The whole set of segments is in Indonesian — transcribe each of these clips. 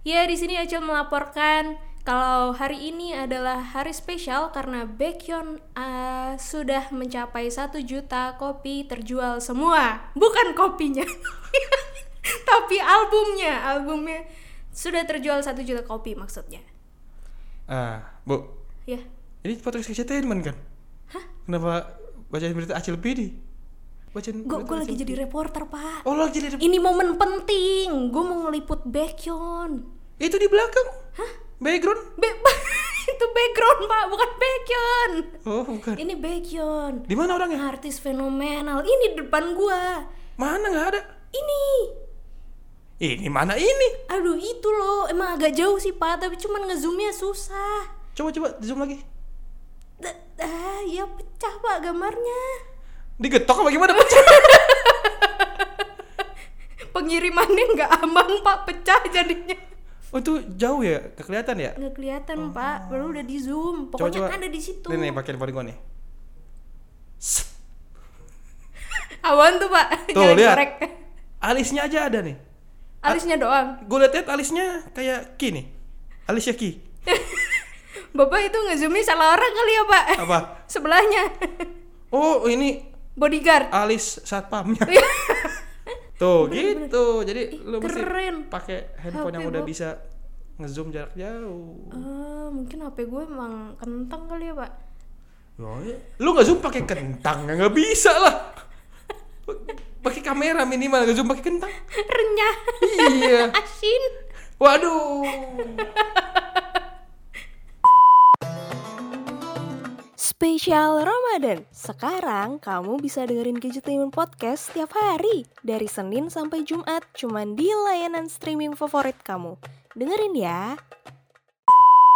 Ya, di sini Acil melaporkan kalau hari ini adalah hari spesial karena Baekhyun uh, sudah mencapai 1 juta kopi terjual semua. Bukan kopinya. Tapi albumnya, albumnya sudah terjual 1 juta kopi maksudnya. Ah, Bu, Ya. ini podcast entertainment kan? Hah? Kenapa bacain berita Acil Pidi? Bacain Gue berita lagi Acil jadi Pidi. reporter, Pak. Oh, lo lagi jadi Ini momen penting. Gue mau ngeliput Baekhyun. Itu di belakang. Hah? Background? Be- itu background, Pak, bukan Baekhyun. Oh, bukan. Ini Baekhyun. Di mana orangnya? Artis fenomenal. Ini di depan gua. Mana nggak ada? Ini. Ini mana ini? Aduh, itu loh. Emang agak jauh sih, Pak, tapi cuman ngezoomnya susah. Coba coba di zoom lagi. D- ah, ya pecah, Pak, gambarnya. Digetok apa gimana pecah? Pengirimannya nggak aman, Pak, pecah jadinya. Oh, itu jauh ya? Nggak kelihatan ya? Nggak kelihatan, Pak. Baru udah di zoom. Coba, Pokoknya coba. ada di situ. Ini nih pakai handphone gua nih. Set. Awan tuh, Pak. Tuh, Jangan lihat. korek. Alisnya aja ada nih. Alisnya doang. Gue liat-liat alisnya kayak Ki nih. Alisnya Ki. Bapak itu ngezoomnya salah orang kali ya pak Apa? Sebelahnya Oh, ini Bodyguard alis satpamnya. Tuh, gitu. Jadi lu mesti keren. pakai handphone HP yang udah gua- bisa ngezoom jarak jauh. Eh, Mungkin HP gue emang kentang kali ya pak Ya, Lu nggak zoom pakai kentang ya nggak bisa lah. Pakai kamera minimal nggak zoom pakai kentang. Renyah Iya. Asin Waduh. Spesial Ramadan. Sekarang kamu bisa dengerin Gadgetainment Podcast setiap hari dari Senin sampai Jumat cuman di layanan streaming favorit kamu. Dengerin ya.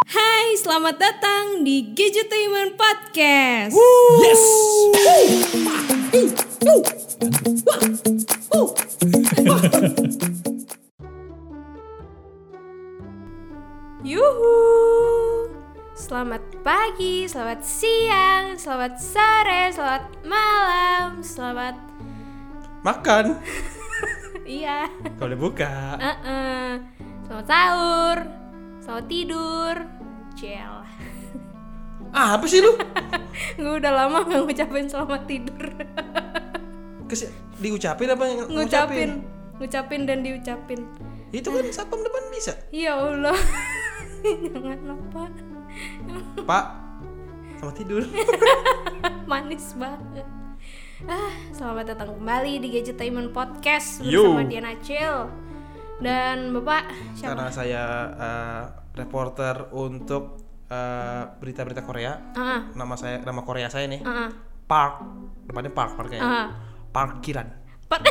Hai selamat datang di Gadgetainment Podcast Yes. Yuhu Selamat pagi, selamat siang, selamat sore, selamat malam, selamat Makan. iya, Kalau udah buka. Heeh. selamat sahur, selamat tidur, cel. Ah, apa sih lu? Gue udah lama gak ngucapin selamat tidur Kes diucapin apa yang Ngucapin Ngucapin dan diucapin Itu kan satpam depan bisa. Ya Allah Jangan lupa Pak, sama tidur. Manis banget ah, Selamat datang kembali di Gadgetainment Podcast Yo. Bersama Diana Cil Dan Bapak Karena siapa? saya eh, reporter untuk eh, berita-berita Korea. Ah, Nama saya nama Korea saya nih. ah, Park. Depannya Park, Park ah. kayaknya. Parkiran. Par-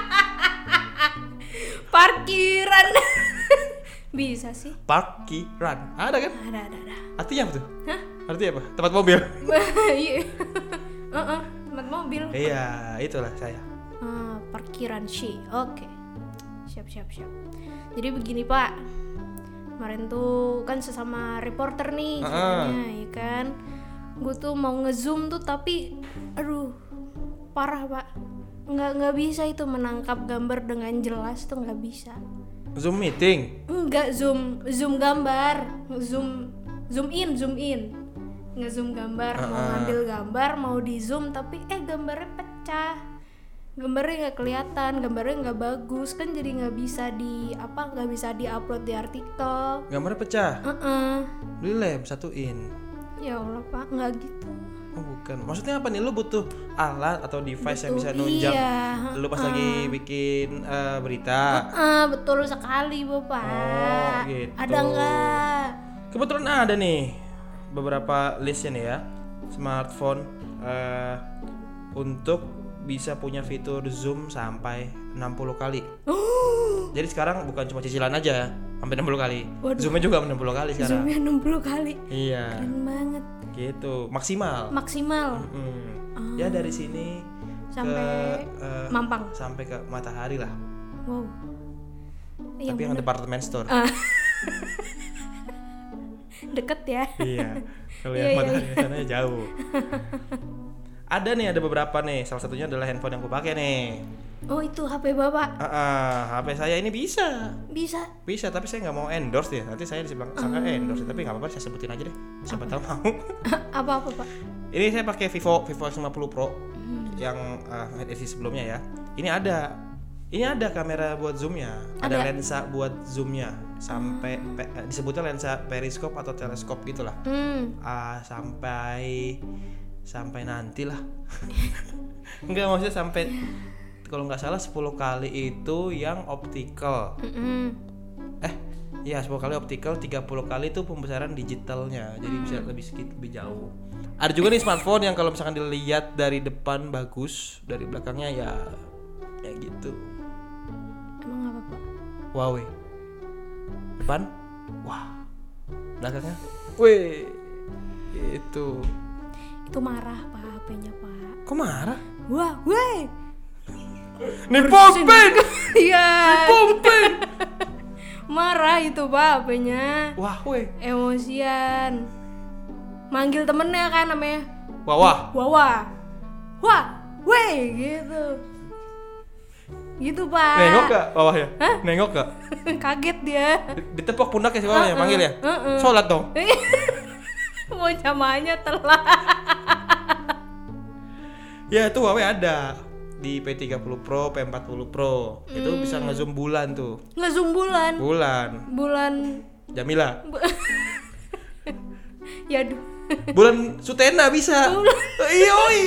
Parkiran Bisa sih Parkiran. Ada kan? Ada, ada, ada Artinya apa tuh? Hah? Artinya apa? Tempat mobil. Iya. Heeh, tempat mobil. iya, itulah saya. Ah, parkiran sih. Oke. Siap, siap, siap. Jadi begini, Pak. Kemarin tuh kan sesama reporter nih Heeh. ceritanya, ya kan. Gue tuh mau nge-zoom tuh tapi aduh, parah, Pak. Nggak nggak bisa itu menangkap gambar dengan jelas tuh nggak bisa. Zoom meeting. Enggak zoom, zoom gambar, zoom zoom in, zoom in. Nge-zoom gambar, mau Ah. ngambil gambar, mau di zoom tapi eh gambarnya pecah. Gambarnya nggak kelihatan, gambarnya nggak bagus kan jadi nggak bisa di apa nggak bisa diupload di artikel. Gambarnya pecah. Heeh. Dilem satuin. Ya Allah pak, nggak gitu. Oh, bukan. Maksudnya apa nih? Lu butuh alat atau device yang Butuh- bisa nunjang iya, lu pas lagi bikin eh, berita. Ah betul sekali bapak. Oh, gitu. Ada nggak? Kebetulan ada nih beberapa listnya nih ya smartphone eh, untuk bisa punya fitur zoom sampai 60 kali. Jadi sekarang bukan cuma cicilan aja sampai 60 kali. Waduh. Zoomnya juga 60 kali sekarang. Zoomnya 60 kali. Iya, Keren banget. gitu. Maksimal. Maksimal Mm. Ya dari sini Ah. sampai ke eh, Mampang. sampai ke matahari lah. Wow. Iya, Yang Tapi yang department store. deket ya. iya kalau Iya, yang iya, matahari di sana jauh ada nih ada beberapa nih salah satunya adalah handphone yang gue pakai nih Oh itu HP bapak Ah, ah, HP saya ini bisa. bisa. Bisa, tapi saya nggak mau endorse deh. Nanti saya disebut sangka Ah. endorse, tapi nggak apa-apa, saya sebutin aja deh. Siapa tahu mau. apa apa pak? ini saya pakai Vivo Vivo X50 Pro yang ah, edisi sebelumnya ya. Ini ada. Ini ada kamera buat zoomnya, ada, Ada. lensa buat zoomnya sampai pe- eh, disebutnya lensa periskop atau teleskop gitu gitulah. Hmm. Ah, sampai sampai nantilah. Enggak maksudnya sampai kalau nggak salah 10 kali itu yang optical. mm-mm. eh ya 10 kali optical 30 kali itu pembesaran digitalnya jadi bisa lebih sedikit lebih jauh ada juga nih smartphone yang kalau misalkan dilihat dari depan bagus dari belakangnya ya ya gitu Emang apa pak? Huawei depan wah belakangnya weh itu Itu marah pak HP-nya pak. kok marah Wah, weh. nih pompen Iya. pompen Marah itu pak HP-nya. wah weh Emosian. Manggil temennya kan namanya. wah wah Wawa. Wah, weh gitu. Gitu nengok pak. gak bawahnya nengok gak Kaget dia. Di- ditepok pundaknya sih bawahnya manggil ya Heeh. sholat dong Mau jamannya telat. Ya itu Huawei ada di P30 Pro, P40 Pro. Itu bisa ngezoom bulan tuh. Ngezoom bulan. Bulan. Bulan Jamila. ya aduh. Bulan Sutena bisa. Iya, oi.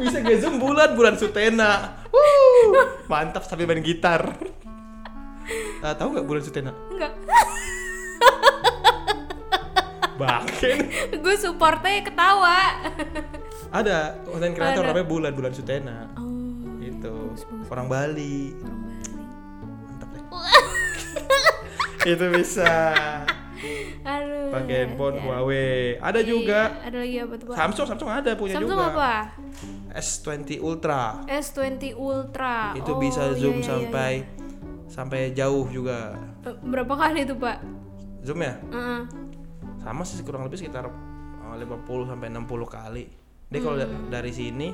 Bisa ngezoom bulan bulan Sutena. Wuh, Mantap sambil main gitar. Eh, tahu nggak bulan Sutena? Enggak. Bahkan Gue supportnya ketawa. ada konten kreator Ada. namanya Bulan Bulan Sutena. Oh, Itu orang Bali. orang Bali. Mantap deh. Itu bisa. Aduh. pakai handphone Huawei. Ada juga Iya, ada lagi apa tuh, Pak? Samsung, Samsung ada punya Samsung juga. apa? S20 Ultra. S20 Ultra. Itu Oh, bisa iya, zoom iya, iya, sampai sampai jauh juga. iya. Eh, Berapa kali itu, Pak? Zoom ya? Heeh. Sama sih kurang lebih sekitar eh, 50 sampai 60 kali. Dia Hmm. kalau da- dari sini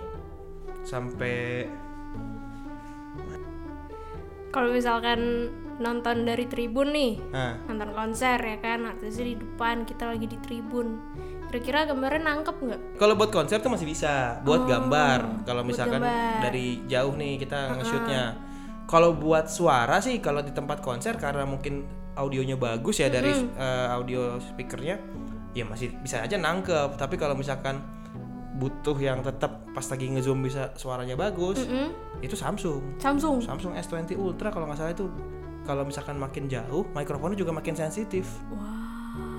sampai Kalau misalkan nonton dari tribun nih, nah, nonton konser ya kan, artisnya di depan, kita lagi di tribun. Kira-kira gambarnya nangkep nggak? kalau buat konsep tuh masih bisa, buat gambar. Oh, Kalau buat misalkan gambar. dari jauh nih kita nge-shootnya. Kalau buat suara sih kalau di tempat konser karena mungkin audionya bagus ya dari eh, audio speakernya ya masih bisa aja nangkep. Tapi kalau misalkan butuh yang tetap pas lagi ngezoom bisa suaranya bagus, Mm-mm. itu Samsung. Samsung. Samsung S20 Ultra kalau nggak salah itu kalau misalkan makin jauh mikrofonnya juga makin sensitif.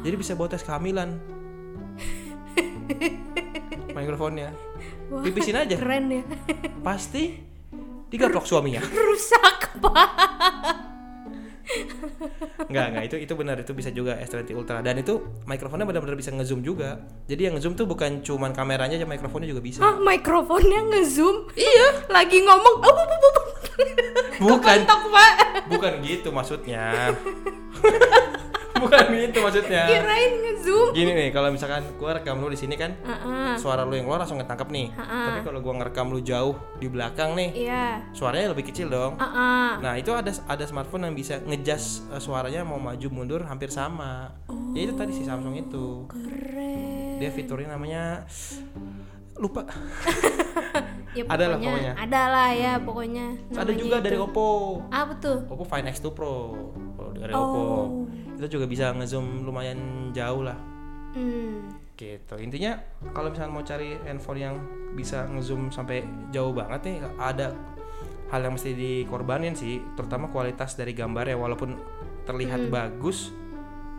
Jadi bisa buat tes kehamilan. mikrofonnya. Pipisin aja. Keren ya. Pasti digaplok suaminya. Rusak, Pak. Enggak, enggak itu itu benar itu bisa juga S20 Ultra dan itu mikrofonnya benar-benar bisa ngezoom juga. Jadi yang ngezoom tuh bukan cuman kameranya aja mikrofonnya juga bisa. Hah, Ah, mikrofonnya ngezoom. Iya. Lagi ngomong. Oh, bu, bu, bu, bu. Bukan Kepentok, Pak. bukan gitu maksudnya. bukan gitu maksudnya. Kirain ngezoom. Uh-uh. Gini nih, kalau misalkan gua rekam lu di sini kan, Heeh. suara lu yang keluar langsung ketangkep nih. Ha-ha. Tapi kalau gua ngerekam lu jauh di belakang nih, Iya. Uh-uh. suaranya lebih kecil dong. Heeh. Nah, itu ada ada smartphone yang bisa ngejas eh, suaranya mau maju mundur hampir sama. Ya itu tadi si Samsung itu. Keren. Dia fiturnya namanya lupa. Ya, Ada lah pokoknya. Hmm. Ada lah ya pokoknya. ada namanya juga itu. dari Oppo. Apa tuh? Oppo Find X2 Pro. Kalau dari Oh. Oppo. Itu juga bisa ngezoom lumayan jauh lah. Hmm. gitu intinya kalau misalnya mau cari handphone yang bisa ngezoom sampai jauh banget nih ada hal yang mesti dikorbanin sih terutama kualitas dari gambarnya walaupun terlihat Hmm. bagus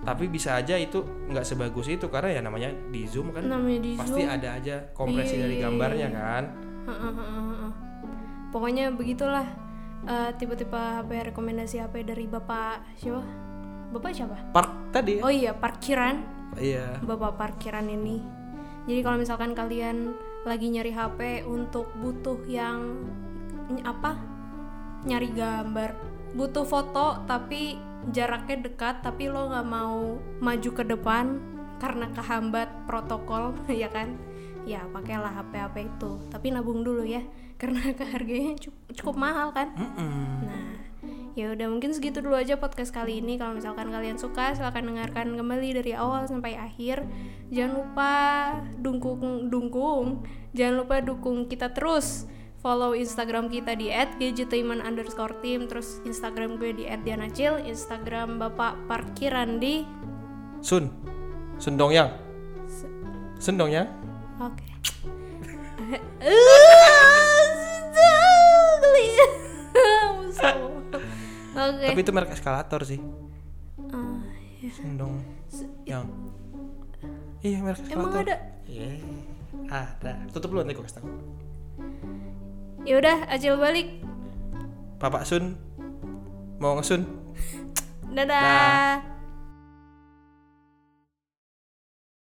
tapi bisa aja itu nggak sebagus itu karena ya namanya di zoom kan Namanya di pasti zoom. Iya. ada aja kompresi dari gambarnya kan Heeh, heeh, heeh. uh-uh, Pokoknya begitulah eh, tipe-tipe HP rekomendasi HP dari Bapak siapa? Bapak siapa? park tadi ya? Oh iya, parkiran. iya bapak parkiran ini. Jadi kalau misalkan kalian lagi nyari HP untuk butuh yang ny- apa? Nyari gambar, butuh foto tapi jaraknya dekat tapi lo nggak mau maju ke depan karena kehambat protokol ya kan? Ya pakailah HP-HP itu. Tapi nabung dulu ya karena harganya cu- cukup mahal kan. Mm-mm. Nah, ya udah mungkin segitu dulu aja podcast kali ini. Kalau misalkan kalian suka, silahkan dengarkan kembali dari awal sampai akhir. Jangan lupa dukung dukung. Jangan lupa dukung kita terus. Follow Instagram kita di @gadgetainment underscore team. Terus Instagram gue di @dianacil. Instagram Bapak Parkiran di. Sun, Sun Dongyang, Sun Dongyang. Oke. Ah, sudah, geli. Musuh. Oke. Tapi itu merek eskalator sih. Ah, ya. Sun Dongyang. Iya merek eskalator. Emang ada Iya. Ada. Tutup dulu nanti gue kasih tahu. Ya udah, acil balik. Bapak Sun mau ngesun. Dadah. Dah.